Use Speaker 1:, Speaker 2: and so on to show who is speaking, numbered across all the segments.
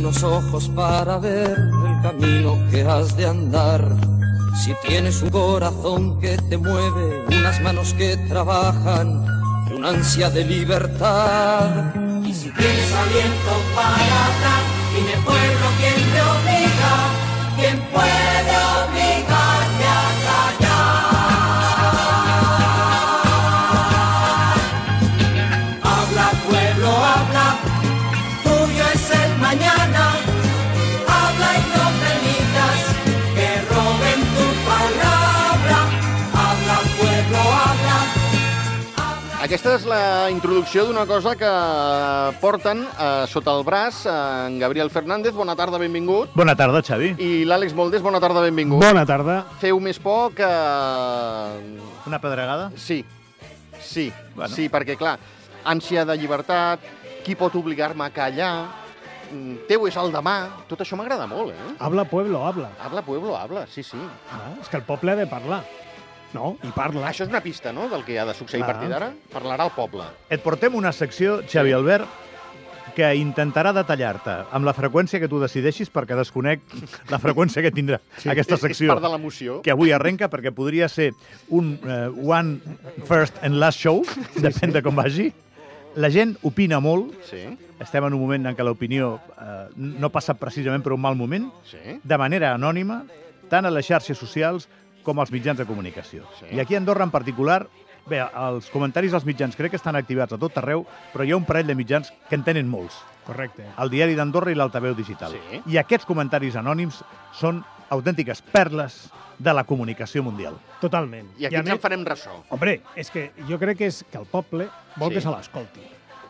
Speaker 1: los ojos para ver el camino que has de andar. Si tienes un corazón que te mueve, unas manos que trabajan y un ansia de libertad.
Speaker 2: Y si tienes aliento para hablar, dime pueblo quién te obliga, quién puede obligarte a callar. Habla pueblo, habla, tuyo es el mañana, habla y no permitas que roben tu palabra. Habla pueblo, habla.
Speaker 3: Aquesta és la introducció d'una cosa que porten eh, sota el braç en Gabriel Fernández. Bona tarda, benvingut.
Speaker 4: Bona tarda, Xavi.
Speaker 3: I l'Àlex Moldés, bona tarda, benvingut.
Speaker 5: Bona tarda.
Speaker 3: Feu més por que...
Speaker 4: Una pedregada?
Speaker 3: Sí, sí, bueno.
Speaker 4: Bueno.
Speaker 3: sí, perquè, clar, ànsia de llibertat, qui pot obligar-me a callar, mm, teu és el demà, tot això m'agrada molt, eh?
Speaker 5: Habla pueblo, habla.
Speaker 3: Habla, pueblo, habla, sí, sí.
Speaker 5: Ah, és que el poble ha de parlar. No? I parla.
Speaker 3: Això és una pista, no?, del que ha de succeir a
Speaker 5: Clar.
Speaker 3: partir d'ara. Parlarà el poble.
Speaker 4: Et portem una secció, Xavi Albert, que intentarà detallar-te amb la freqüència que tu decideixis perquè desconec la freqüència que tindrà sí, aquesta
Speaker 3: És- És
Speaker 4: secció
Speaker 3: part de l'emoció.
Speaker 4: que avui arrenca perquè podria ser un uh, one first and last show, depèn de com vagi. La gent opina molt,
Speaker 3: Sí,
Speaker 4: estem en un moment en què l'opinió eh, no passa precisament per un mal moment,
Speaker 3: sí.
Speaker 4: de manera anònima, tant a les xarxes socials com als mitjans de comunicació.
Speaker 3: Sí.
Speaker 4: Sí. I aquí a Andorra en particular, bé, els comentaris als mitjans crec que estan activats a tot arreu, però hi ha un parell de mitjans que en tenen molts,
Speaker 5: Correcte.
Speaker 4: el Diari d'Andorra i l'Altaveu Digital.
Speaker 3: Sí.
Speaker 4: I aquests comentaris anònims són autèntiques perles de la comunicació mundial.
Speaker 5: Ah, Totalment.
Speaker 3: I aquí
Speaker 5: a
Speaker 3: ens en farem ressò.
Speaker 5: Hombre, és que jo crec que és que el poble vol
Speaker 3: Sí.
Speaker 5: que se l'escolti,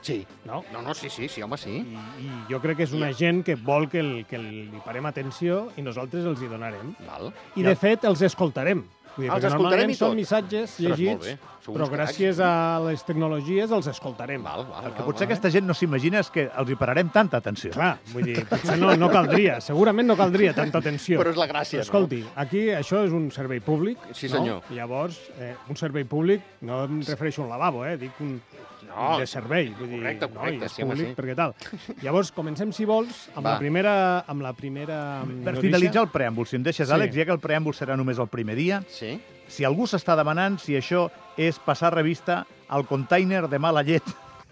Speaker 3: Sí.
Speaker 5: no?
Speaker 3: No, no, sí, sí, sí, home, sí.
Speaker 5: I, I jo crec que és una gent que vol que, el, que li parem atenció i nosaltres els hi donarem.
Speaker 3: Val.
Speaker 5: I,
Speaker 4: Ja.
Speaker 5: de fet, els escoltarem. Vull dir,
Speaker 3: Ah, Els
Speaker 5: perquè
Speaker 3: escoltarem i
Speaker 5: normalment
Speaker 3: tot.
Speaker 5: són missatges
Speaker 3: Ostres, molt
Speaker 5: llegits,
Speaker 3: bé. Sou uns
Speaker 5: però
Speaker 3: cracs.
Speaker 5: gràcies a les tecnologies els escoltarem.
Speaker 3: Val, val,
Speaker 4: El
Speaker 3: val,
Speaker 4: que potser
Speaker 3: val.
Speaker 4: aquesta gent no s'imagina és que els hi pararem tanta atenció.
Speaker 5: Clar, vull dir, potser no, no caldria, segurament no caldria tanta atenció.
Speaker 3: Però és la gràcia, no?
Speaker 5: Escolti, aquí això és un servei públic,
Speaker 3: Sí,
Speaker 5: no?
Speaker 3: senyor.
Speaker 5: Llavors, eh, un servei públic, no em refereixo a un lavabo, eh, dic un
Speaker 3: No,
Speaker 5: de servei, vull dir,
Speaker 3: correcte, correcte,
Speaker 5: no, i és
Speaker 3: sí, home,
Speaker 5: públic,
Speaker 3: sí.
Speaker 5: perquè tal. Llavors, comencem, si vols, amb
Speaker 3: Va.
Speaker 5: la primera... Amb la primera mm,
Speaker 4: Per
Speaker 5: notícia.
Speaker 4: finalitzar el preàmbul, si em deixes,
Speaker 5: Sí.
Speaker 4: Àlex, ja que el preàmbul serà només el primer dia,
Speaker 3: Sí.
Speaker 4: si algú s'està demanant si això és passar revista al container de mala llet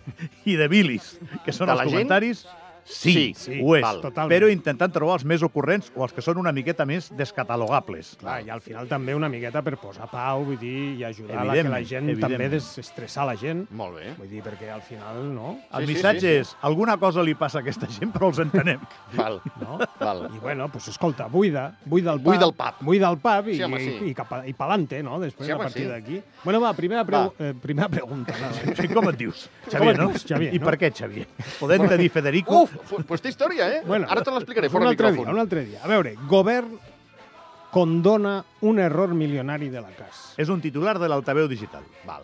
Speaker 4: i de bilis, que són
Speaker 3: De
Speaker 4: els
Speaker 3: la gent?
Speaker 4: comentaris, sí,
Speaker 3: Sí,
Speaker 5: sí,
Speaker 4: ho és,
Speaker 3: val.
Speaker 5: Totalment.
Speaker 4: però intentant trobar els més ocorrents o els que són una miqueta més descatalogables.
Speaker 5: Clar, i al final també una miqueta per posar pau, vull dir, i ajudar a la que la
Speaker 4: Evidentment,
Speaker 5: gent també
Speaker 4: evidentment.
Speaker 5: desestressar la gent,
Speaker 3: Molt bé.
Speaker 5: vull dir, perquè al final, no?
Speaker 4: El
Speaker 3: Sí, sí,
Speaker 4: missatge
Speaker 3: sí, sí.
Speaker 4: és, alguna cosa li passa a aquesta gent, però els entenem.
Speaker 3: Val.
Speaker 5: No?
Speaker 3: Val.
Speaker 5: I bueno, doncs escolta, buida, buida el pub.
Speaker 3: Buida el pub.
Speaker 5: Buida el pub i,
Speaker 3: Sí, home, sí.
Speaker 5: i, i, cap a, i pa'lante, no? Després,
Speaker 3: Sí,
Speaker 5: a
Speaker 3: home,
Speaker 5: partir
Speaker 3: sí.
Speaker 5: d'aquí. Bueno, va, primera, preu,
Speaker 3: Va.
Speaker 5: eh, primera pregunta. Nada.
Speaker 4: Com et dius?
Speaker 5: Com
Speaker 4: Xavier,
Speaker 5: et
Speaker 4: no?
Speaker 5: dius, Xavier,
Speaker 4: I
Speaker 5: no?
Speaker 4: per què, Xavier? Podem te dir Federico?
Speaker 3: Uf, fu- pues té història, eh?
Speaker 5: Bueno,
Speaker 3: Ara te l'explicaré
Speaker 5: un
Speaker 3: fora
Speaker 5: altre
Speaker 3: micròfon.
Speaker 5: dia, un altre dia. A veure, govern condona un error milionari de la CAS.
Speaker 4: És un titular de l'altaveu digital.
Speaker 3: Val.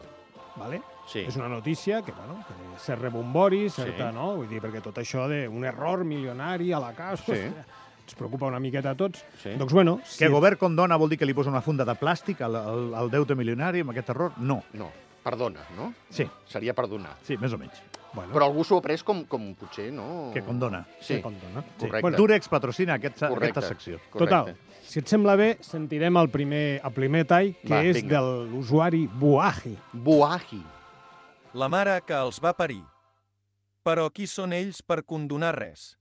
Speaker 5: Vale?
Speaker 3: Sí.
Speaker 5: És una notícia que, bueno, que se rebombori, certa,
Speaker 3: Sí.
Speaker 5: no? Vull dir, perquè tot això d'un error milionari a la CAS,
Speaker 3: Sí.
Speaker 5: hòstia, ens preocupa una miqueta a tots.
Speaker 3: Sí.
Speaker 5: Doncs bueno, si
Speaker 4: Que govern condona vol dir que li posa una funda de plàstic al, al, al deute milionari amb aquest error? No.
Speaker 3: No, perdona, no?
Speaker 4: Sí,
Speaker 3: Seria perdonar.
Speaker 4: sí, més o menys.
Speaker 5: Bueno,
Speaker 3: Però algú s'ho ha pres com, com potser, no?
Speaker 4: Que condona.
Speaker 3: Sí,
Speaker 5: se condona.
Speaker 4: Sí.
Speaker 3: Correcte.
Speaker 4: Bueno, Turex patrocina aquesta,
Speaker 3: correcte.
Speaker 4: aquesta secció.
Speaker 3: Correcte.
Speaker 5: Total, si et sembla bé, sentirem el primer, el primer tall, que
Speaker 3: Va,
Speaker 5: Va, és
Speaker 3: vinga.
Speaker 5: vinga. de l'usuari Buahi.
Speaker 3: Buahi.
Speaker 6: la mare que els va parir. Però qui són ells per condonar res?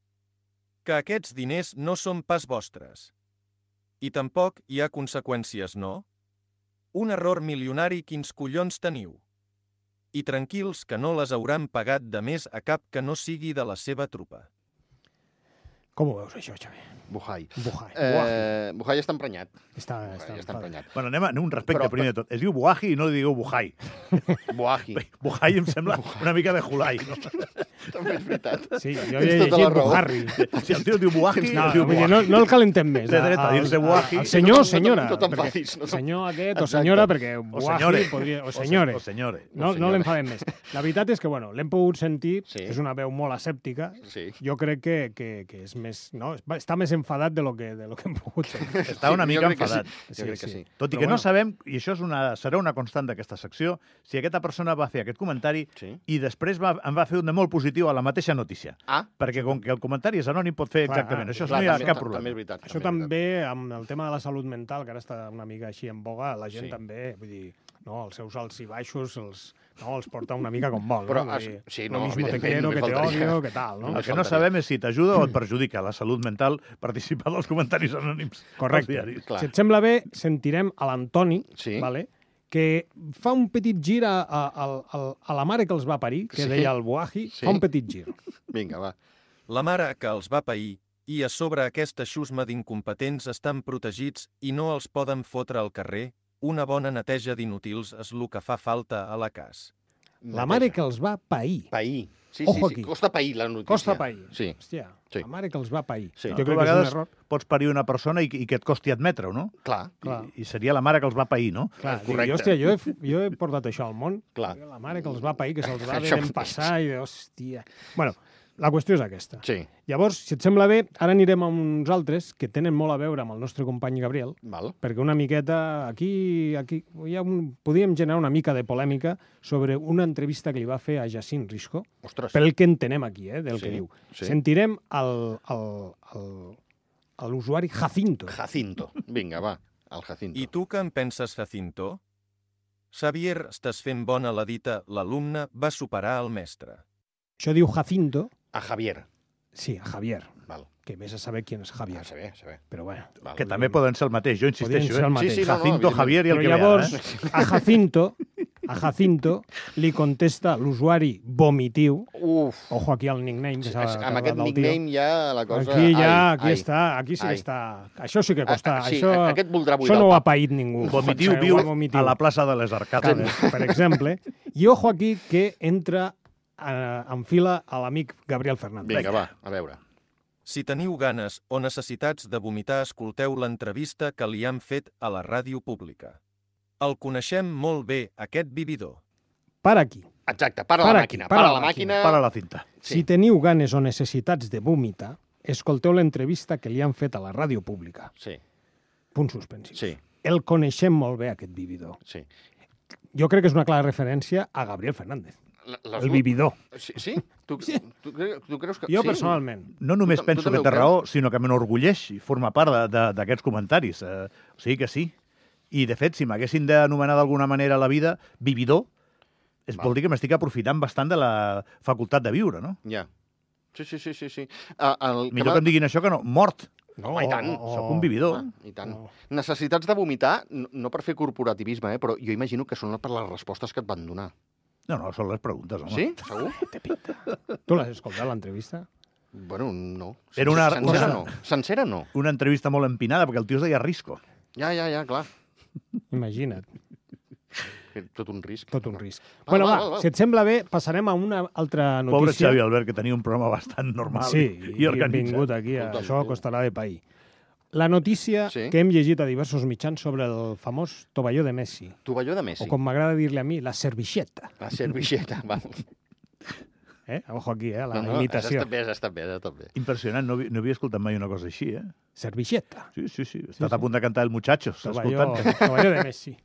Speaker 6: Que aquests diners no són pas vostres. I tampoc hi ha conseqüències, no? Un error milionari quins collons teniu. I tranquils que no les hauran pagat de més a cap que no sigui de la seva trupa.
Speaker 5: Com ho veus, això, Xavi?
Speaker 3: Buhai.
Speaker 5: Buahi. Buahi.
Speaker 3: Eh, Buhai està emprenyat.
Speaker 5: Està,
Speaker 3: Buhai
Speaker 5: està,
Speaker 3: està
Speaker 5: està
Speaker 3: emprenyat.
Speaker 4: Bueno, anem a anem a un respecte
Speaker 3: Però-
Speaker 4: però, primer de tot. Es diu Buaji i no li digueu Buhai.
Speaker 3: Buahi.
Speaker 4: Buhai em sembla una mica de Julai. No?
Speaker 3: També és veritat.
Speaker 5: sí, jo
Speaker 3: Tens
Speaker 5: he
Speaker 3: tota la
Speaker 5: llegit
Speaker 3: raó.
Speaker 5: Buharri.
Speaker 4: Si el tio diu Buaji,
Speaker 5: No,
Speaker 4: no, es
Speaker 5: no,
Speaker 4: diu
Speaker 5: vull dir,
Speaker 4: Buhai.
Speaker 5: no, no el calentem més. eh,
Speaker 4: Té dret a
Speaker 5: Al-
Speaker 4: dir-se
Speaker 5: al-
Speaker 4: Buahi.
Speaker 5: al Senyor
Speaker 3: No
Speaker 5: o
Speaker 3: t'em-
Speaker 5: senyora.
Speaker 3: no t'enfadis,
Speaker 5: perquè
Speaker 3: no t'enfadis.
Speaker 5: senyor aquest o
Speaker 3: Exacte.
Speaker 5: senyora, perquè
Speaker 4: O
Speaker 5: Buahi
Speaker 4: senyore.
Speaker 5: podria... O
Speaker 4: O
Speaker 5: senyores.
Speaker 4: senyore.
Speaker 5: No, no
Speaker 3: senyora.
Speaker 5: l'enfadem més. La veritat és que, bueno, l'hem pogut sentir,
Speaker 3: Sí.
Speaker 5: és una veu molt asèptica.
Speaker 3: Sí.
Speaker 5: Jo crec que, que, que és més més, no? Es va- Està més enfadat de lo que, de lo que hem pogut ser.
Speaker 4: Està una
Speaker 3: jo
Speaker 4: mica
Speaker 3: crec que sí.
Speaker 4: enfadat.
Speaker 3: Jo crec que sí.
Speaker 4: Tot i
Speaker 5: Però
Speaker 4: que no
Speaker 5: bueno.
Speaker 4: sabem, i això és una, serà una constant d'aquesta secció, si aquesta persona va fer aquest comentari
Speaker 3: Sí.
Speaker 4: i després va, en va fer un de molt positiu a la mateixa notícia.
Speaker 3: Ah,
Speaker 4: Perquè com que el comentari és anònim pot fer
Speaker 5: Clar,
Speaker 4: exactament.
Speaker 5: ah,
Speaker 4: això
Speaker 3: clar,
Speaker 4: no hi ha
Speaker 3: també-
Speaker 4: cap
Speaker 3: ta-
Speaker 4: problema.
Speaker 3: També és veritat.
Speaker 5: Això
Speaker 3: és veritat.
Speaker 5: també, amb el tema de la salut mental, que ara està una mica així en boga, la gent
Speaker 3: Sí.
Speaker 5: també, vull dir, no, els seus alts i baixos els, no, els porta una mica com vol.
Speaker 3: Però,
Speaker 5: no? Vull
Speaker 3: es- sí,
Speaker 5: lo
Speaker 3: no,
Speaker 5: mismo te
Speaker 3: evidentment,
Speaker 5: quiero, que
Speaker 3: només
Speaker 5: te
Speaker 3: faltaria.
Speaker 5: odio, que tal, no?
Speaker 4: El
Speaker 3: Només
Speaker 4: que no
Speaker 3: faltaria.
Speaker 4: sabem és si t'ajuda o et perjudica la salut mental participar dels comentaris anònims
Speaker 5: Correcte.
Speaker 4: als diaris.
Speaker 3: Clar.
Speaker 5: Si et sembla bé, sentirem a l'Antoni,
Speaker 3: Sí.
Speaker 5: vale? que fa un petit gir a, a, a, a la mare que els va parir, que
Speaker 3: Sí.
Speaker 5: deia el Buaji,
Speaker 3: Sí.
Speaker 5: fa un petit gir.
Speaker 3: Vinga, va.
Speaker 6: La mare que els va pair, i a sobre aquesta xusma d'incompetents estan protegits i no els poden fotre al carrer, una bona neteja d'inútils és lo que fa falta a la cas.
Speaker 5: La mare que els va pair.
Speaker 3: Paí. Sí, sí,
Speaker 5: Ojo
Speaker 3: sí.
Speaker 5: aquí.
Speaker 3: Costa paí, la notícia.
Speaker 5: Costa pair.
Speaker 3: Sí.
Speaker 5: Hòstia,
Speaker 3: Sí.
Speaker 5: la mare que els va pair.
Speaker 3: Sí.
Speaker 5: Jo
Speaker 4: Tu a
Speaker 5: crec que és un
Speaker 4: vegades
Speaker 5: error.
Speaker 4: pots parir una persona i, i que et costi admetre-ho, no?
Speaker 3: Clar,
Speaker 5: Clar.
Speaker 4: I, I seria la mare que els va pair, no?
Speaker 5: Clar,
Speaker 3: correcte.
Speaker 5: Dic, hòstia, jo he, jo he portat això al món.
Speaker 3: Clar.
Speaker 5: La mare que els va pair, que se'ls va
Speaker 3: Això
Speaker 5: ben
Speaker 3: mateix.
Speaker 5: passar i, de, hòstia... Bueno, la qüestió és aquesta.
Speaker 3: sí.
Speaker 5: Llavors, si et sembla bé, ara anirem a uns altres que tenen molt a veure amb el nostre company Gabriel,
Speaker 3: Val.
Speaker 5: perquè una miqueta aquí, aquí hi ha un, podíem generar una mica de polèmica sobre una entrevista que li va fer a Jacint Risco,
Speaker 3: Ostres.
Speaker 5: pel que entenem aquí, eh, del
Speaker 3: Sí,
Speaker 5: que diu.
Speaker 3: sí.
Speaker 5: Sentirem el, el, el, a l'usuari Jacinto.
Speaker 3: Jacinto. Vinga, va. El Jacinto.
Speaker 6: I tu què en penses, Jacinto? Xavier, estàs fent bona la dita, l'alumne va superar el mestre.
Speaker 5: Això diu Jacinto,
Speaker 3: A Javier.
Speaker 5: sí, a Javier,
Speaker 3: Val.
Speaker 5: que més a saber qui és
Speaker 3: Ja
Speaker 5: Ah, Javier,
Speaker 3: se ve, se ve.
Speaker 5: però bueno.
Speaker 3: Val.
Speaker 4: Que també poden ser el mateix, jo
Speaker 5: Podrien
Speaker 4: insisteixo.
Speaker 5: ser el
Speaker 4: Eh?
Speaker 5: mateix.
Speaker 3: Sí, sí, no, no,
Speaker 4: Jacinto,
Speaker 3: evidentment.
Speaker 4: Javier i el
Speaker 5: Però
Speaker 4: que eh?
Speaker 5: llavors,
Speaker 4: ve ara.
Speaker 5: a Jacinto, a Jacinto li contesta l'usuari vomitiu,
Speaker 3: Uf.
Speaker 5: ojo aquí al nickname que
Speaker 3: Sí,
Speaker 5: s'ha
Speaker 3: amb
Speaker 5: carregat
Speaker 3: aquest
Speaker 5: el tio.
Speaker 3: nickname ja la cosa...
Speaker 5: Aquí ja,
Speaker 3: Ai,
Speaker 5: aquí
Speaker 3: ai.
Speaker 5: està, aquí sí que
Speaker 3: ai.
Speaker 5: està. Això sí que costa.
Speaker 3: Ah, ah, sí,
Speaker 5: això,
Speaker 3: a- aquest voldrà buidar
Speaker 5: Això no
Speaker 3: el
Speaker 5: ho ha
Speaker 3: pap.
Speaker 5: paït ningú.
Speaker 4: Vomitiu
Speaker 5: Penseu,
Speaker 4: viu
Speaker 5: ho ha vomitiu.
Speaker 4: a la plaça de les
Speaker 5: Cades,
Speaker 4: Arcades.
Speaker 5: per exemple. I ojo aquí que entra eh, en fila a l'amic Gabriel Fernández.
Speaker 3: Vinga, va, a veure.
Speaker 6: Si teniu ganes o necessitats de vomitar, escolteu l'entrevista que li han fet a la ràdio pública. El coneixem molt bé, aquest vividor.
Speaker 5: Per aquí.
Speaker 3: Exacte, para,
Speaker 5: Para
Speaker 3: la
Speaker 5: aquí,
Speaker 3: màquina.
Speaker 5: para
Speaker 3: Para,
Speaker 5: la
Speaker 3: la màquina.
Speaker 4: Para la cinta.
Speaker 3: Sí.
Speaker 5: Si teniu ganes o necessitats de vomitar, escolteu l'entrevista que li han fet a la ràdio pública.
Speaker 3: Sí,
Speaker 5: Punt suspensiu.
Speaker 3: sí,
Speaker 5: El coneixem molt bé, aquest vividor.
Speaker 3: sí.
Speaker 5: Jo crec que és una clara referència a Gabriel Fernández,
Speaker 3: La- les
Speaker 5: el
Speaker 3: du-
Speaker 5: vividor.
Speaker 3: Sí? sí? Tu, Tu, cre- tu creus que...
Speaker 5: Jo,
Speaker 3: sí?
Speaker 5: personalment,
Speaker 4: No només
Speaker 3: tu
Speaker 4: penso
Speaker 3: també
Speaker 4: que
Speaker 3: ho
Speaker 4: té
Speaker 3: creus?
Speaker 4: raó, sinó que m'enorgulleix i forma part de- de- d'aquests comentaris. Eh, o sigui que sí. I, de fet, si m'haguessin d'anomenar d'alguna manera la vida vividor, es vol dir que m'estic aprofitant bastant de la facultat de viure, no?
Speaker 3: Ja. Sí, sí, sí, sí. sí. Uh, el
Speaker 4: Millor que Oh, em diguin això que no. Mort.
Speaker 5: No,
Speaker 3: Home, i tant.
Speaker 4: Sóc un vividor.
Speaker 3: Ah, I tant.
Speaker 5: No.
Speaker 3: Necessitats de vomitar, no, no per fer corporativisme, eh, però jo imagino que són per les respostes que et van donar.
Speaker 4: No, no, són les preguntes, home.
Speaker 3: Sí? Segur?
Speaker 5: Tu l'has escoltat, l'entrevista?
Speaker 3: Bueno, no.
Speaker 4: Era una-
Speaker 3: Sencera
Speaker 4: una-
Speaker 3: no. Sencera no.
Speaker 4: Una entrevista molt empinada, perquè el tio es deia Risco.
Speaker 3: Ja, ja, ja, clar.
Speaker 5: Imagina't,
Speaker 3: Tot un risc.
Speaker 5: tot un risc.
Speaker 3: Va,
Speaker 5: bueno,
Speaker 3: va,
Speaker 5: va,
Speaker 3: va, va.
Speaker 5: si et sembla bé, passarem a una altra notícia.
Speaker 4: Pobre Xavi Albert, que tenia un programa bastant normal
Speaker 5: Sí,
Speaker 4: i, i
Speaker 5: vingut
Speaker 4: organitzat.
Speaker 5: aquí, a...
Speaker 3: Escolta'm,
Speaker 5: això
Speaker 3: tu.
Speaker 5: costarà de pair. La notícia
Speaker 3: Sí.
Speaker 5: sí. que hem llegit a diversos mitjans sobre el famós tovalló de Messi, sí.
Speaker 3: Tovalló de
Speaker 5: o
Speaker 3: Messi.
Speaker 5: com m'agrada dir-li a mi, la servixeta.
Speaker 3: La servilleta, va.
Speaker 5: Eh? Ojo aquí, eh?
Speaker 3: No,
Speaker 5: la
Speaker 3: no,
Speaker 5: no,
Speaker 3: has
Speaker 5: imitació.
Speaker 3: estat bé, has estat bé, has estat bé.
Speaker 4: Impressionant, no, havi- no havia escoltat mai una cosa així, eh?
Speaker 5: Servixeta.
Speaker 4: Sí, sí, sí. Ha estat a punt de cantar el Muchacho. s'ha
Speaker 5: Tovalló,
Speaker 4: escoltat.
Speaker 5: tovalló de Messi.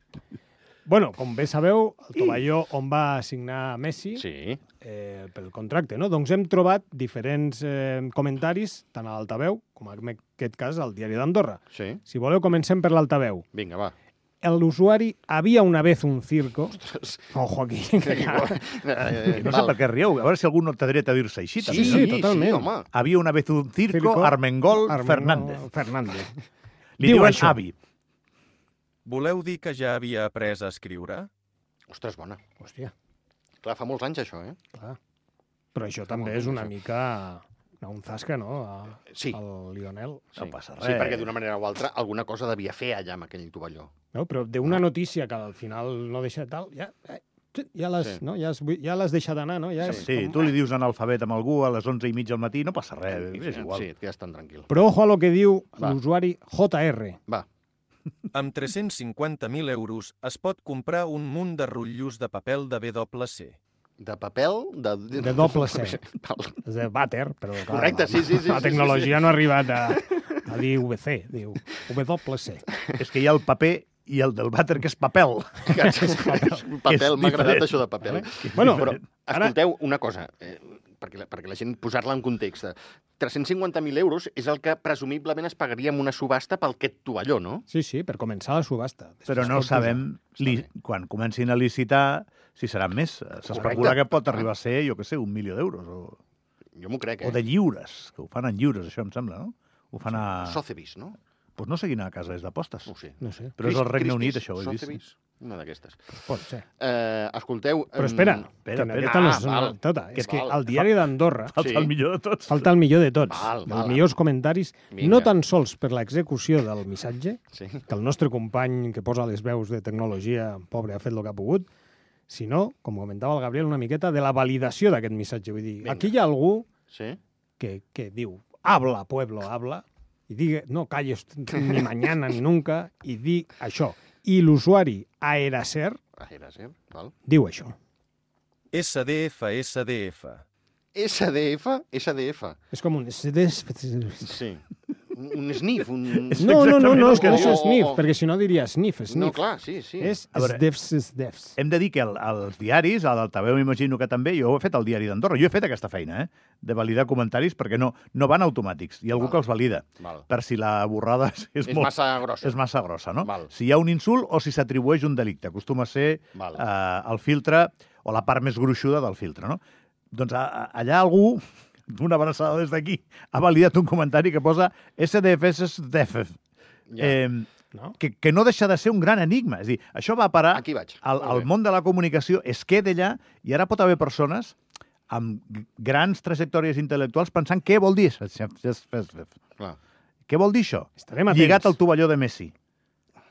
Speaker 5: Bueno, com bé sabeu, el tovalló on va signar Messi,
Speaker 3: Sí.
Speaker 5: eh, pel contracte. No? Doncs hem trobat diferents eh, comentaris, tant a l'Altaveu com en aquest cas al Diari d'Andorra.
Speaker 3: Sí.
Speaker 5: Si voleu, comencem per l'Altaveu.
Speaker 3: Vinga, va.
Speaker 5: L'usuari havia una vez un circo... Ojo aquí. que ja-
Speaker 4: I No sé per què rieu. A veure si algú no té dret a dir-se així.
Speaker 3: Sí,
Speaker 4: també,
Speaker 3: sí,
Speaker 4: no?
Speaker 3: sí,
Speaker 5: totalment.
Speaker 3: Sí, home.
Speaker 4: Havia una vez un circo,
Speaker 5: Circo,
Speaker 4: Armengol,
Speaker 5: Armengol
Speaker 4: Fernández.
Speaker 5: Fernández.
Speaker 4: Li
Speaker 5: Diu
Speaker 4: diuen
Speaker 5: això.
Speaker 4: avi.
Speaker 6: Voleu dir que ja havia après a escriure?
Speaker 3: Ostres, bona.
Speaker 5: Hòstia,
Speaker 3: Clar, fa molts anys, això, eh?
Speaker 5: clar. Però això també és una mica... No, un zasca, no? A,
Speaker 3: Sí.
Speaker 5: Al Lionel.
Speaker 4: No passa
Speaker 3: Sí,
Speaker 4: res.
Speaker 3: perquè d'una manera o altra alguna cosa devia fer allà amb aquell tovalló.
Speaker 5: No? Però d'una notícia que al final no deixa tal... Ja, eh, ja l'has
Speaker 3: Sí.
Speaker 5: no? ja has- ja l'has deixat anar, no? Ja és
Speaker 4: Sí,
Speaker 5: com- ah.
Speaker 4: tu li dius analfabet amb algú a les 11 i mitja del matí, no passa
Speaker 5: Eh,
Speaker 4: res, és igual.
Speaker 3: Sí, et quedes tan tranquil.
Speaker 5: Però ojo a lo que diu
Speaker 3: Va.
Speaker 5: l'usuari JR.
Speaker 3: Va,
Speaker 6: Amb 350.000 euros es pot comprar un munt de rotllos de paper de WC.
Speaker 3: De papel? De,
Speaker 5: De doble C.
Speaker 3: Val.
Speaker 5: És de vàter, però clar,
Speaker 3: Correcte,
Speaker 5: la-
Speaker 3: sí, sí, sí, sí,
Speaker 5: La
Speaker 3: sí,
Speaker 5: tecnologia no ha arribat a, a dir VC, diu WC.
Speaker 4: És que hi ha el paper i el del vàter, que és papel.
Speaker 3: papel,
Speaker 4: És
Speaker 3: m'ha agradat
Speaker 4: diferent.
Speaker 3: això de papel. eh?
Speaker 5: Bueno,
Speaker 3: Però,
Speaker 5: Eh? Ara-
Speaker 3: escolteu, una cosa, eh, perquè, la, perquè la gent posar-la en context. eh, 350.000 euros és el que presumiblement es pagaria en una subhasta pel aquest tovalló, no?
Speaker 5: Sí, sí, per començar la subhasta. Després
Speaker 4: Però
Speaker 5: pot
Speaker 4: no
Speaker 5: pujar.
Speaker 4: sabem, li, quan comencin a licitar, si seran més. S'especula
Speaker 3: Correcte. Ah.
Speaker 4: que pot arribar a ser, jo que sé, un milió d'euros o,
Speaker 3: Jo m'ho crec, eh?
Speaker 4: o de lliures, que ho fan en lliures, això em sembla, no? Ho fan a...
Speaker 3: Sotheby's, no?
Speaker 4: Doncs no sé quina casa és d'apostes.
Speaker 3: No ho sé.
Speaker 5: Ah. No sé,
Speaker 4: Però és
Speaker 3: Christ-
Speaker 4: el Regne
Speaker 3: Christie's,
Speaker 4: Unit, això, ho he vist.
Speaker 3: Sotheby's, una d'aquestes.
Speaker 5: pot ser.
Speaker 3: Eh, escolteu...
Speaker 5: Però
Speaker 3: em,
Speaker 5: espera,
Speaker 4: espera,
Speaker 5: que en
Speaker 4: espera.
Speaker 5: aquesta no
Speaker 3: Ah,
Speaker 5: és una
Speaker 3: val.
Speaker 5: anècdota. És que
Speaker 3: Val.
Speaker 5: al diari d'Andorra
Speaker 4: Falta
Speaker 3: Sí.
Speaker 4: el millor de tots.
Speaker 5: falta el millor de tots.
Speaker 3: Val, val.
Speaker 5: Els millors comentaris,
Speaker 3: Vinga.
Speaker 5: no tan sols per l'execució del missatge,
Speaker 3: Sí.
Speaker 5: que el nostre company que posa les veus de tecnologia, pobre, ha fet el que ha pogut, sinó, com comentava el Gabriel, una miqueta de la validació d'aquest missatge. Vull dir,
Speaker 3: Vinga.
Speaker 5: aquí hi ha algú
Speaker 3: Sí?
Speaker 5: que, que diu, habla, pueblo, habla, i digue, no calles ni mañana ni nunca, i di això. I l'usuari Aeraser
Speaker 3: Ah, era, sí? Val.
Speaker 5: diu això.
Speaker 6: SDF, SDF.
Speaker 3: SDF, SDF.
Speaker 5: És com un...
Speaker 3: Sí. Un, un sniff, un...
Speaker 5: No, no, no, no, és que
Speaker 3: el
Speaker 5: no és
Speaker 3: diu.
Speaker 5: sniff,
Speaker 3: Oh, oh.
Speaker 5: perquè si no diria sniff, sniff.
Speaker 3: No, clar, sí, sí.
Speaker 5: És
Speaker 4: A veure.
Speaker 5: SDFs, SDFs.
Speaker 4: Hem de dir que el, els diaris, a l'Altaveu m'imagino que també, jo ho he fet al diari d'Andorra, jo he fet aquesta feina, eh? de validar comentaris perquè no, no van automàtics, hi ha algú
Speaker 3: Val.
Speaker 4: que els valida,
Speaker 3: Val.
Speaker 4: per si la borrada és,
Speaker 3: És,
Speaker 4: és, molt,
Speaker 3: massa grossa.
Speaker 4: és massa grossa, no?
Speaker 3: Val.
Speaker 4: Si hi ha un insult o si s'atribueix un delicte, acostuma a ser eh,
Speaker 3: Val.
Speaker 4: el filtre o la part més gruixuda del filtre, no? Doncs a, a, allà algú d'una abraçada des d'aquí, ha validat un comentari que posa SDFS SDF.
Speaker 3: Ja.
Speaker 4: Eh,
Speaker 5: No?
Speaker 4: que, que no deixa de ser un gran enigma. És a dir, això va parar
Speaker 3: Aquí vaig.
Speaker 4: al,
Speaker 3: Molt
Speaker 4: al
Speaker 3: bé.
Speaker 4: món de la comunicació, es queda allà i ara pot haver persones amb g- grans trajectòries intel·lectuals pensant què vol dir això.
Speaker 3: Clar.
Speaker 4: Què vol dir això?
Speaker 5: Estarem atents.
Speaker 4: Lligat al tovalló de Messi.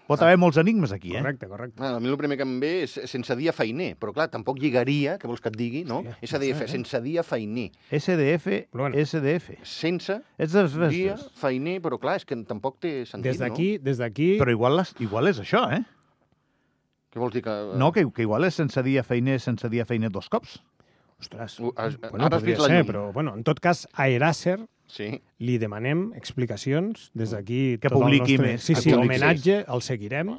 Speaker 4: Pot haver molts enigmes aquí, eh?
Speaker 5: Correcte, correcte.
Speaker 3: Ah, a mi el primer que em ve és sense dia feiner, però clar, tampoc lligaria, que vols que et digui, no?
Speaker 5: Hòstia,
Speaker 3: SDF, sense dia feiner.
Speaker 4: SDF,
Speaker 5: Però bueno.
Speaker 4: SDF.
Speaker 3: Sense
Speaker 4: És des- des-
Speaker 3: dia
Speaker 4: des.
Speaker 3: feiner, però clar, és que tampoc té sentit,
Speaker 5: Des d'aquí, des d'aquí...
Speaker 4: Però igual, les, igual és això, eh?
Speaker 3: no? Què vols dir que...
Speaker 4: No, que, que igual és sense dia feiner, sense dia feiner dos cops.
Speaker 5: Ostres,
Speaker 3: Ho- has-
Speaker 5: bueno,
Speaker 3: ara has
Speaker 5: podria
Speaker 3: vist la
Speaker 5: ser,
Speaker 3: llum.
Speaker 5: però bueno, en tot cas, a Eraser
Speaker 3: Sí,
Speaker 5: li demanem explicacions des d'aquí.
Speaker 4: Que
Speaker 5: tot el
Speaker 4: publiqui
Speaker 5: nostre...
Speaker 4: més,
Speaker 5: Sí,
Speaker 4: que
Speaker 5: sí,
Speaker 3: publiqui
Speaker 5: l'homenatge el seguirem.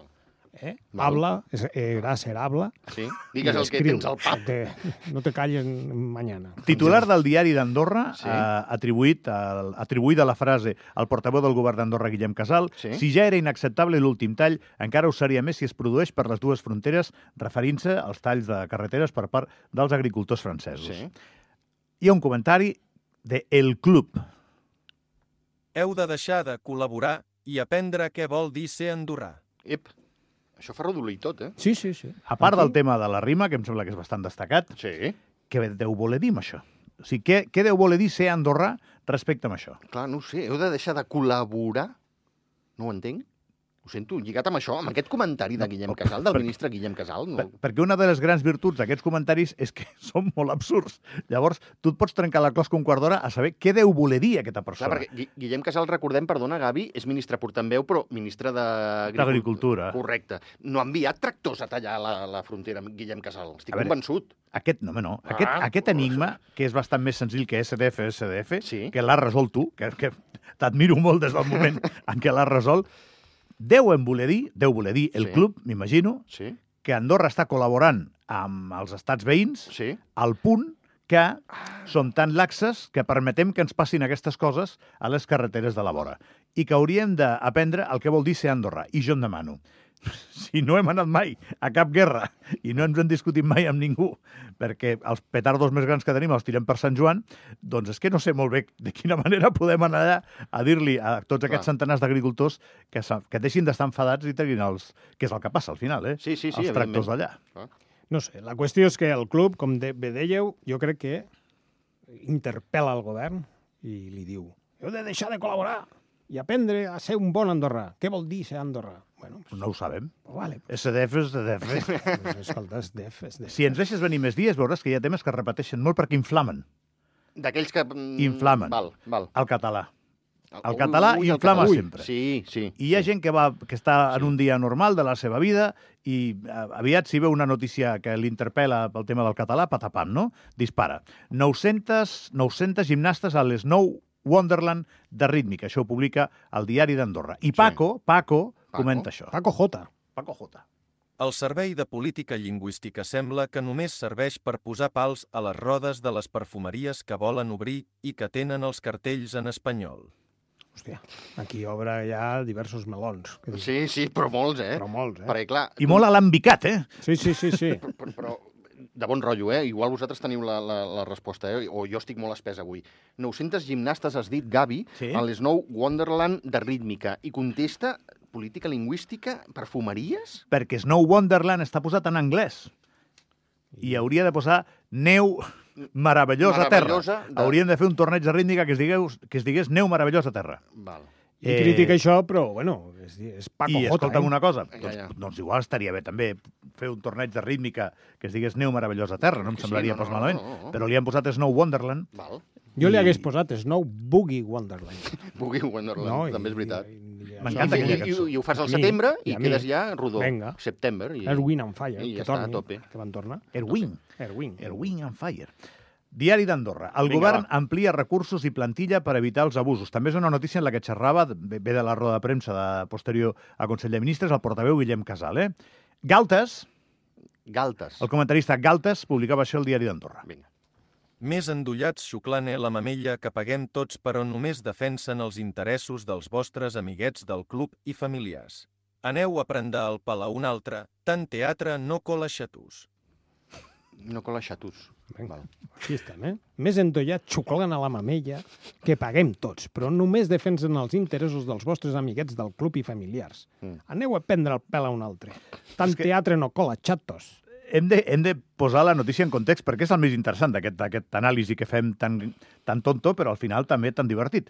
Speaker 5: Eh?
Speaker 3: Val.
Speaker 5: Habla, és- eh, Eraser habla.
Speaker 3: sí. Digues
Speaker 5: i
Speaker 3: el que
Speaker 5: escriu.
Speaker 3: tens al pap.
Speaker 5: Te- No te calles mañana.
Speaker 4: Titular del diari d'Andorra,
Speaker 3: Sí.
Speaker 4: sí. eh, atribuït al, atribuïda la frase al portaveu del govern d'Andorra, Guillem Casal,
Speaker 3: Sí.
Speaker 4: sí. si ja era inacceptable l'últim tall, encara ho seria més si es produeix per les dues fronteres, referint-se als talls de carreteres per part dels agricultors francesos.
Speaker 3: Sí.
Speaker 4: Sí. Hi ha un comentari de El Club.
Speaker 6: Heu de deixar de col·laborar i aprendre què vol dir ser andorrà.
Speaker 3: Ep. Això fa rodolí tot, eh?
Speaker 5: Sí, sí, sí.
Speaker 4: A part del tema de la rima, que em sembla que és bastant destacat,
Speaker 3: Sí.
Speaker 4: què deu voler dir amb això? O sigui, què, què deu voler dir ser andorrà respecte amb això?
Speaker 3: Clar, no ho sé, heu de deixar de col·laborar? No ho entenc. Ho sento, lligat amb això, amb aquest comentari de Guillem Casal, del ministre Guillem Casal. No.
Speaker 4: Per, perquè una de les grans virtuts d'aquests comentaris és que són molt absurds. Llavors, tu et pots trencar la closca un quart d'hora a saber què deu voler dir aquesta
Speaker 3: Clar,
Speaker 4: persona.
Speaker 3: perquè Gui- Guillem Casal, recordem, perdona, Gavi, és ministre portaveu, però ministre d'Agricultura.
Speaker 4: D'Agricultura.
Speaker 3: Correcte. No ha enviat tractors a tallar la, la frontera amb Guillem Casal. Estic
Speaker 4: A veure,
Speaker 3: convençut.
Speaker 4: Aquest, no, home, no. Aquest,
Speaker 3: Ah,
Speaker 4: aquest
Speaker 3: pues-
Speaker 4: enigma, que és bastant més senzill que SDF, SDF,
Speaker 3: Sí.
Speaker 4: que l'has resolt tu, que, que t'admiro molt des del moment en què l'has resolt, deu en voler dir, deu voler dir el
Speaker 3: Sí.
Speaker 4: club, m'imagino,
Speaker 3: Sí,
Speaker 4: que Andorra està col·laborant amb els estats veïns
Speaker 3: sí.
Speaker 4: al punt que som tan laxes que permetem que ens passin aquestes coses a les carreteres de la vora i que hauríem d'aprendre el que vol dir ser Andorra. I jo em demano, si no hem anat mai a cap guerra i no ens hem discutit mai amb ningú perquè els petardos més grans que tenim els tirem per Sant Joan, doncs és que no sé molt bé de quina manera podem anar allà a dir-li a tots aquests
Speaker 3: Clar.
Speaker 4: centenars d'agricultors que, s'ha- que deixin d'estar enfadats i treguin els... que és el que passa al final, eh?
Speaker 3: Sí, sí, sí,
Speaker 4: els
Speaker 3: evidentment.
Speaker 4: tractors d'allà.
Speaker 5: No sé, la qüestió és que el club, com de, bé dèieu, jo crec que interpel·la el govern i li diu heu de deixar de col·laborar i aprendre a ser un bon andorrà. Què vol dir ser andorrà? Bueno, pues,
Speaker 4: No ho sabem.
Speaker 5: vale,
Speaker 4: SDF, SDF...
Speaker 5: pues, escolta, és def, és def.
Speaker 4: Si ens deixes venir més dies, veuràs que hi ha temes que es repeteixen molt perquè inflamen
Speaker 3: D'aquells que... mm,
Speaker 4: Inflamen.
Speaker 3: Val, val.
Speaker 4: el català. El català
Speaker 3: català.
Speaker 4: inflama sempre.
Speaker 3: Sí, sí.
Speaker 4: I hi ha gent que, va, que està sí. en un dia normal de la seva vida i eh, aviat si veu una notícia que l'interpel·la pel tema del català, patapam, no? Dispara. 900, 900 gimnastes a les 9 Wonderland de rítmica. Això ho publica el diari d'Andorra. I Paco, Paco,
Speaker 3: Paco?
Speaker 4: comenta això.
Speaker 5: Paco Jota.
Speaker 4: Paco J.
Speaker 6: El Servei de Política Lingüística sembla que només serveix per posar pals a les rodes de les perfumeries que volen obrir i que tenen els cartells en espanyol.
Speaker 5: Hòstia, aquí obre ja diversos melons. Que dius,
Speaker 3: Sí, sí, però molts, eh?
Speaker 5: Però molts, eh?
Speaker 3: Perquè, clar,
Speaker 4: I molt alambicat, eh?
Speaker 5: Sí, sí, sí, sí.
Speaker 3: però, però de bon rotllo, eh? Igual vosaltres teniu la, la, la resposta, eh? O jo estic molt espès avui. 900 gimnastes has dit, Gavi,
Speaker 4: Sí.
Speaker 3: sí? a les 9 Wonderland de rítmica. I contesta política lingüística, perfumeries?
Speaker 4: Perquè Snow Wonderland està posat en anglès. I hauria de posar neu
Speaker 3: Meravellosa
Speaker 4: meravellosa, terra.
Speaker 3: de-
Speaker 4: Hauríem de fer un torneig de rítmica que es digués, que es digués neu meravellosa terra.
Speaker 3: Val.
Speaker 5: I
Speaker 4: Eh,
Speaker 5: critica això, però, bueno, és, dir, és Paco
Speaker 4: I
Speaker 5: Jota.
Speaker 4: escolta'm
Speaker 5: eh?
Speaker 4: una cosa,
Speaker 3: Ja,
Speaker 4: doncs,
Speaker 3: ja.
Speaker 4: doncs igual estaria bé també fer un torneig de rítmica que es digués Neu Meravellosa Terra, no em
Speaker 3: Sí, sí,
Speaker 4: semblaria
Speaker 3: no,
Speaker 4: pas
Speaker 3: no,
Speaker 4: malament,
Speaker 3: no, no.
Speaker 4: però li han posat Snow Wonderland.
Speaker 3: Val.
Speaker 5: Jo li hagués posat Snow Boogie Wonderland.
Speaker 3: Pugui Wonderland, no,
Speaker 5: i-
Speaker 3: també és veritat.
Speaker 5: i-
Speaker 3: I,
Speaker 5: i-
Speaker 4: M'encanta
Speaker 3: i,
Speaker 4: aquella
Speaker 3: i,
Speaker 4: cançó.
Speaker 3: i, ho fas al
Speaker 5: A mi,
Speaker 3: setembre i,
Speaker 5: i a mi.
Speaker 3: quedes ja rodó.
Speaker 5: Vinga.
Speaker 3: September. I...
Speaker 5: Erwin and Fire,
Speaker 3: I ja
Speaker 5: que
Speaker 3: està,
Speaker 5: torni,
Speaker 3: a tope.
Speaker 5: que van tornar.
Speaker 4: Erwin,
Speaker 5: Erwin.
Speaker 4: Erwin and Fire. Diari d'Andorra. El
Speaker 3: Vinga,
Speaker 4: govern
Speaker 3: va.
Speaker 4: amplia recursos i plantilla per evitar els abusos. També és una notícia en la que xerrava, ve ve de la roda de premsa de posterior a Consell de Ministres, el portaveu Guillem Casal. Eh? Galtes,
Speaker 3: Galtes.
Speaker 4: el comentarista Galtes, publicava això al Diari d'Andorra.
Speaker 3: Vinga.
Speaker 6: Més endollats xuclant eh, la mamella que paguem tots però només defensen els interessos dels vostres amiguets del club i familiars. Aneu a prendre el pal a un altre, tant teatre no cola xatus.
Speaker 3: No cola xatus.
Speaker 5: Vinga.
Speaker 3: Val.
Speaker 5: Aquí estan, eh? Més endollat, xuclen a la mamella, que paguem tots, però només defensen els interessos dels vostres amiguets del club i familiars.
Speaker 3: Mm.
Speaker 5: Aneu a prendre el pèl a un altre. Tant
Speaker 4: És que-
Speaker 5: teatre no cola, xatos.
Speaker 4: hem de, hem de posar la notícia en context perquè és el més interessant d'aquest d'aquest anàlisi que fem tan, tan tonto, però al final també tan divertit.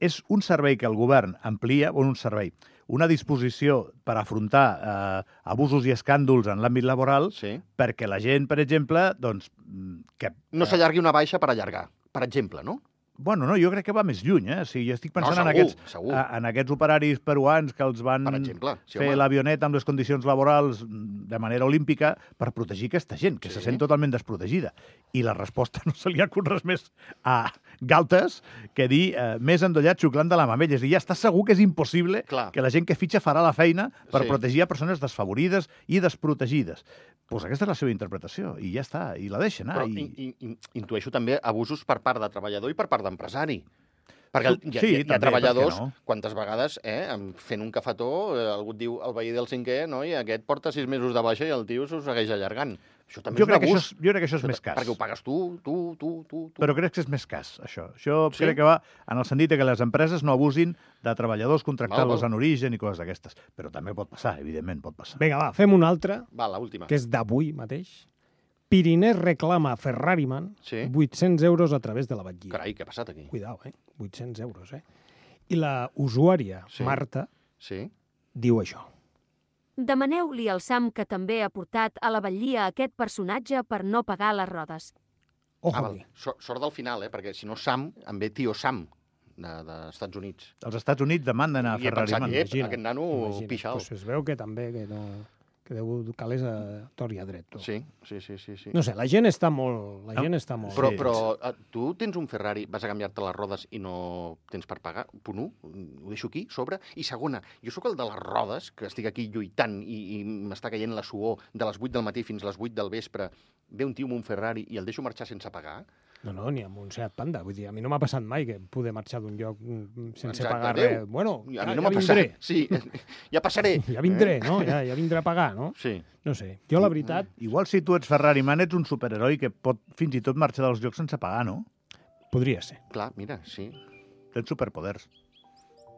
Speaker 4: És un servei que el govern amplia, o un servei, una disposició per afrontar eh, abusos i escàndols en l'àmbit laboral
Speaker 3: Sí.
Speaker 4: perquè la gent, per exemple, doncs, mm, que...
Speaker 3: No s'allargui una baixa per allargar, per exemple, no?
Speaker 4: Bueno, no, jo crec que va més lluny, eh? O sigui, jo estic pensant
Speaker 3: segur,
Speaker 4: en, aquests,
Speaker 3: segur.
Speaker 4: a- en aquests operaris peruans que els van
Speaker 3: Per exemple, sí,
Speaker 4: Mm, fer
Speaker 3: home.
Speaker 4: l'avioneta amb les condicions laborals mm, de manera olímpica per protegir aquesta gent, que se
Speaker 3: Sí.
Speaker 4: sent totalment desprotegida. I la resposta no se li acut res més a Galtes que dir eh, més endollat xuclant de la mamella. És a dir, ja està segur que és impossible
Speaker 3: Clar.
Speaker 4: que la gent que fitxa farà la feina per
Speaker 3: Sí.
Speaker 4: protegir a persones desfavorides i desprotegides. Doncs aquesta és la seva interpretació, i ja està, i la deixa anar.
Speaker 3: Però
Speaker 4: i...
Speaker 3: i... in, in, intueixo també abusos per part de treballador i per part d'empresari. Perquè el, hi, ha-
Speaker 4: Sí,
Speaker 3: hi, ha- hi ha
Speaker 4: també,
Speaker 3: treballadors,
Speaker 4: per què no?
Speaker 3: quantes vegades, eh, em- fent un cafetó, eh, algú et diu el veí del cinquè, no, i aquest porta sis mesos de baixa i el tio s'ho segueix allargant. Això també
Speaker 4: jo,
Speaker 3: és un
Speaker 4: crec que això
Speaker 3: abús.
Speaker 4: és, jo crec que això és més
Speaker 3: ta-
Speaker 4: cas.
Speaker 3: Perquè ho pagues tu, tu, tu, tu, tu.
Speaker 4: Però crec que és més cas, això. Això
Speaker 3: Sí?
Speaker 4: sí? crec que va en el sentit de que les empreses no abusin de treballadors contractant-los
Speaker 3: Val, val.
Speaker 4: en origen i coses d'aquestes. Però també pot passar, evidentment, pot passar.
Speaker 5: Vinga, va, fem una altra,
Speaker 3: Va, l'última.
Speaker 5: que és d'avui mateix. Pirinès reclama a Ferrariman
Speaker 3: Sí.
Speaker 5: 800 euros a través de la batllia.
Speaker 3: Carai, què ha passat aquí?
Speaker 5: Cuidao, eh? 800 euros, eh? I la usuària,
Speaker 3: Sí. Ah,
Speaker 5: sí. Marta,
Speaker 3: Sí?
Speaker 5: diu això.
Speaker 7: Demaneu-li al Sam que també ha portat a la vetllia aquest personatge per no pagar les rodes.
Speaker 5: Ojo,
Speaker 3: Ah,
Speaker 5: ah,
Speaker 3: val. So- Sort del final, eh? Perquè si no Sam, em ve tio Sam, dels de Estats Units.
Speaker 4: Els Estats Units demanden a
Speaker 3: I he
Speaker 4: Ferrari.
Speaker 3: pensat,
Speaker 4: Man.
Speaker 3: ep, aquest nano pixa
Speaker 5: Pues es veu que també que no, que deu calés a tor i a dret. tu.
Speaker 3: Sí, sí, sí, sí. sí.
Speaker 5: No sé, la gent està molt... La gent està molt...
Speaker 3: Però,
Speaker 4: Sí.
Speaker 3: però eh, tu tens un Ferrari, vas a canviar-te les rodes i no tens per pagar, punt 1, ho deixo aquí, sobre. I segona, jo sóc el de les rodes, que estic aquí lluitant i, i m'està caient la suor de les 8 del matí fins les 8 del vespre, ve un tio amb un Ferrari i el deixo marxar sense pagar.
Speaker 5: No, no, ni amb un Seat Panda. Vull dir, a mi no m'ha passat mai que poder marxar d'un lloc mm, sense
Speaker 3: Exacte,
Speaker 5: pagar
Speaker 3: adéu.
Speaker 5: res. Bueno,
Speaker 3: I
Speaker 5: Ah, ja,
Speaker 3: a mi no
Speaker 5: ja
Speaker 3: m'ha
Speaker 5: vindré.
Speaker 3: passat. Sí, ja passaré. Eh?
Speaker 5: Ja
Speaker 4: Eh?
Speaker 5: vindré, no? Ja, ja vindré a pagar, no?
Speaker 3: Sí.
Speaker 5: No sé. Jo, la veritat,
Speaker 4: Igual si tu ets Ferrari Man, ets un superheroi que pot fins i tot marxar dels llocs sense pagar, no?
Speaker 5: podria ser.
Speaker 3: Clar, mira, sí,
Speaker 4: Tens superpoders.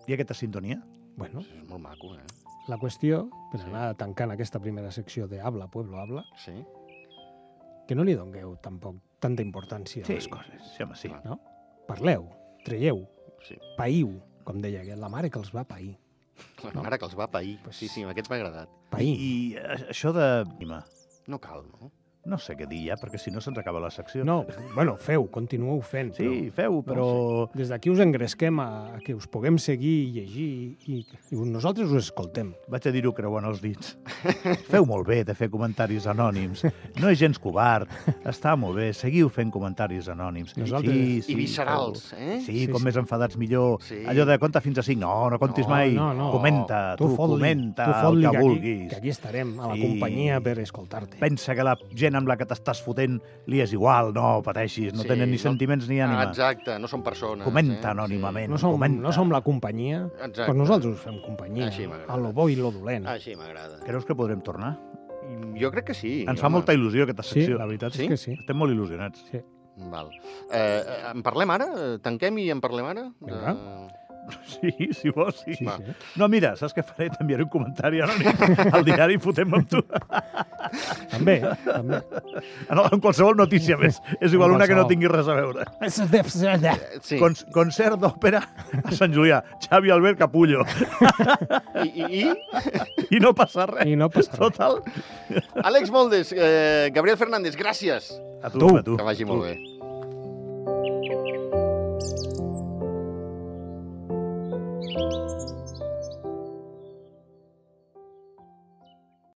Speaker 4: I aquesta sintonia?
Speaker 5: Bueno,
Speaker 3: és molt maco, eh?
Speaker 5: la qüestió, per anar tancant aquesta primera secció de Habla, Pueblo, Habla,
Speaker 3: Sí.
Speaker 5: que no li dongueu tampoc tanta importància a les coses,
Speaker 4: Sí, home, sí.
Speaker 5: no? Parleu, traieu,
Speaker 3: Sí.
Speaker 5: païu, com deia aquest, la mare que els va pair.
Speaker 3: La mare que els va pair. Sí, sí, amb aquests m'ha agradat.
Speaker 5: Pair.
Speaker 4: I eh, això de...
Speaker 3: No cal, no?
Speaker 4: No sé què dir ja, perquè si no se'ns acaba la secció.
Speaker 5: No, bueno, feu, continueu fent.
Speaker 4: Sí, feu, però...
Speaker 5: Però des d'aquí us engresquem a, a que us puguem seguir i llegir i, i nosaltres us escoltem.
Speaker 4: Vaig a dir-ho creuant els dits. Feu molt bé de fer comentaris anònims. No és gens covard. Està molt bé. Seguiu fent comentaris anònims.
Speaker 5: Nosaltres-
Speaker 3: I viscerals,
Speaker 4: feu.
Speaker 3: eh?
Speaker 4: Sí,
Speaker 5: Sí,
Speaker 4: com
Speaker 5: sí.
Speaker 4: més enfadats millor.
Speaker 3: Sí.
Speaker 4: Allò de compta fins a 5. No, no comptis
Speaker 3: No,
Speaker 4: mai.
Speaker 5: no, no.
Speaker 4: Comenta, tu,
Speaker 5: fot-li,
Speaker 4: comenta
Speaker 5: tu fot-li
Speaker 4: el que
Speaker 5: aquí-
Speaker 4: vulguis.
Speaker 5: Que aquí estarem, a la
Speaker 4: Sí.
Speaker 5: companyia, per escoltar-te.
Speaker 4: Pensa que la gent amb la que t'estàs fotent li és igual. No pateixis, no
Speaker 3: Sí,
Speaker 4: tenen ni
Speaker 3: no-
Speaker 4: sentiments ni ànima.
Speaker 3: Ah, exacte, no són persones.
Speaker 4: Comenta
Speaker 3: eh?
Speaker 4: anònimament.
Speaker 5: No som,
Speaker 4: comenta.
Speaker 5: no som la companyia,
Speaker 3: Exacte.
Speaker 5: però nosaltres us fem companyia.
Speaker 3: Així m'agrada. Ah,
Speaker 5: a lo bo i lo
Speaker 3: Sí.
Speaker 5: dolent.
Speaker 3: Així m'agrada.
Speaker 4: Creus que podrem tornar?
Speaker 3: Jo crec que sí.
Speaker 4: Ens fa
Speaker 3: home.
Speaker 4: molta il·lusió aquesta
Speaker 5: Sí,
Speaker 4: secció.
Speaker 5: la veritat
Speaker 3: Sí?
Speaker 5: és que sí.
Speaker 4: Estem molt il·lusionats.
Speaker 3: Val. Eh, eh, en parlem ara? Eh, Tanquem i en parlem ara? Eh,
Speaker 5: Vinga.
Speaker 3: De...
Speaker 4: Sí, si vols, sí.
Speaker 5: sí,
Speaker 3: Va.
Speaker 5: sí.
Speaker 4: No, mira, saps què faré? T'enviaré un comentari anònim al diari i fotem amb tu.
Speaker 5: També, també.
Speaker 4: En, en qualsevol notícia més. És igual
Speaker 5: En
Speaker 4: una que no
Speaker 5: qualsevol.
Speaker 4: tingui res a veure.
Speaker 3: Eh,
Speaker 4: Sí.
Speaker 3: Sí.
Speaker 4: Con concert d'òpera a Sant Julià. Xavi Albert Capullo.
Speaker 3: I, i, I
Speaker 4: I no passa res.
Speaker 5: I no passa res.
Speaker 4: Total.
Speaker 3: Àlex Moldes, eh, Gabriel Fernández, gràcies.
Speaker 4: A tu,
Speaker 5: Tu.
Speaker 4: a tu.
Speaker 3: Que vagi molt bé.